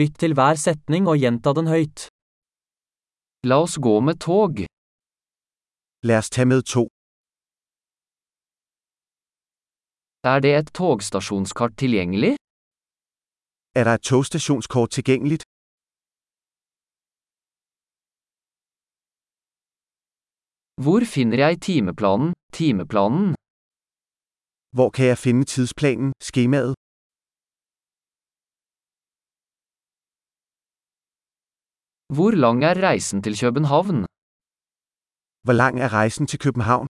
Lytt til hver setning og gjenta den høyt. La oss gå med tog. Lad os tage med to. Er det et togstasjonskart tilgjengelig? Er der et togstationskort tilgængeligt? Hvor finner jeg timeplanen, timeplanen? Hvor kan jeg finde tidsplanen, skemaet? Hvor lang er reisen til København? Hvor lang er rejsen til København?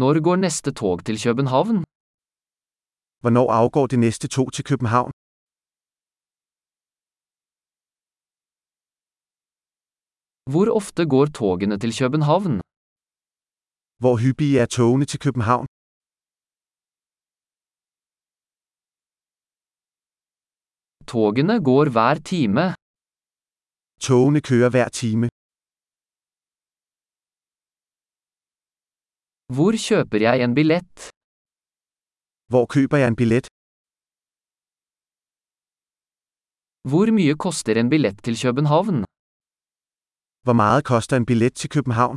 Når går neste tog til København? Hvornår afgår det næste tog til København? Hvor ofte går togene til København? Hvor hyppige er togene til København? Togene går hver time. Togene kører hver time. Hvor kjøper jeg en billett? Hvor køber jeg en billet? Hvor mye koster en billett til København? Hvor meget koster en billet til København?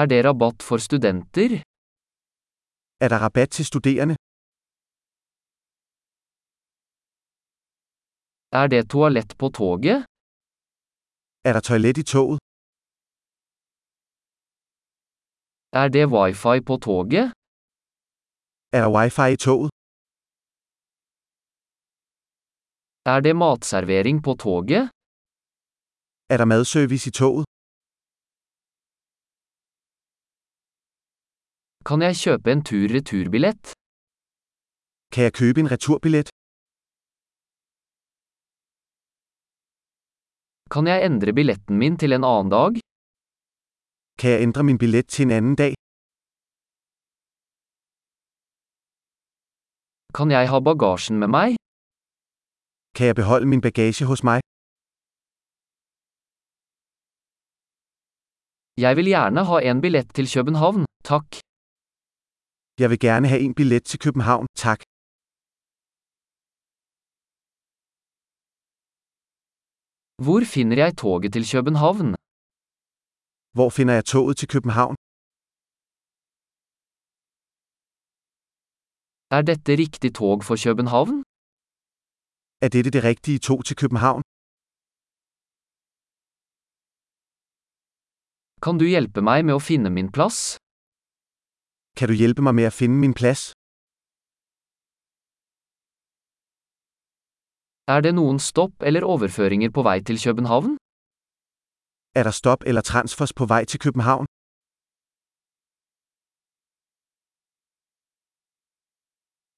Er det rabatt for studenter? Er der rabat til studerende? Er det toalett på toget? Er der toilet i toget? Er det wifi på toget? Er der wifi i toget? Er det matservering på toget? Er der madservice i toget? Kan jeg kjøpe en tur-returbillett? Kan jeg købe en returbillet? Kan jeg endre billetten min til en annen dag? Kan jeg ændre min billet til en anden dag? Kan jeg ha bagasjen med meg? Kan jeg beholde min bagage hos mig? Jeg vil gjerne ha en billett til København, takk. Jeg vil gerne have en billet til København, tak. Hvor finner jeg toget til København? Hvor finder jeg toget til København? Er dette riktig tog for København? Er dette det rigtige tog til København? Kan du hjelpe meg med å finne min plass? Kan du hjælpe mig med at finde min plads? Er det noen stopp eller overføringer på vei til København? Er der stop eller transfers på vej til København?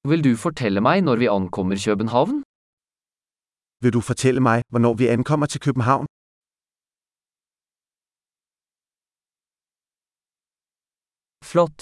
Vil du fortelle meg når vi ankommer København? Vil du fortælle mig, hvornår vi ankommer til København? Flott!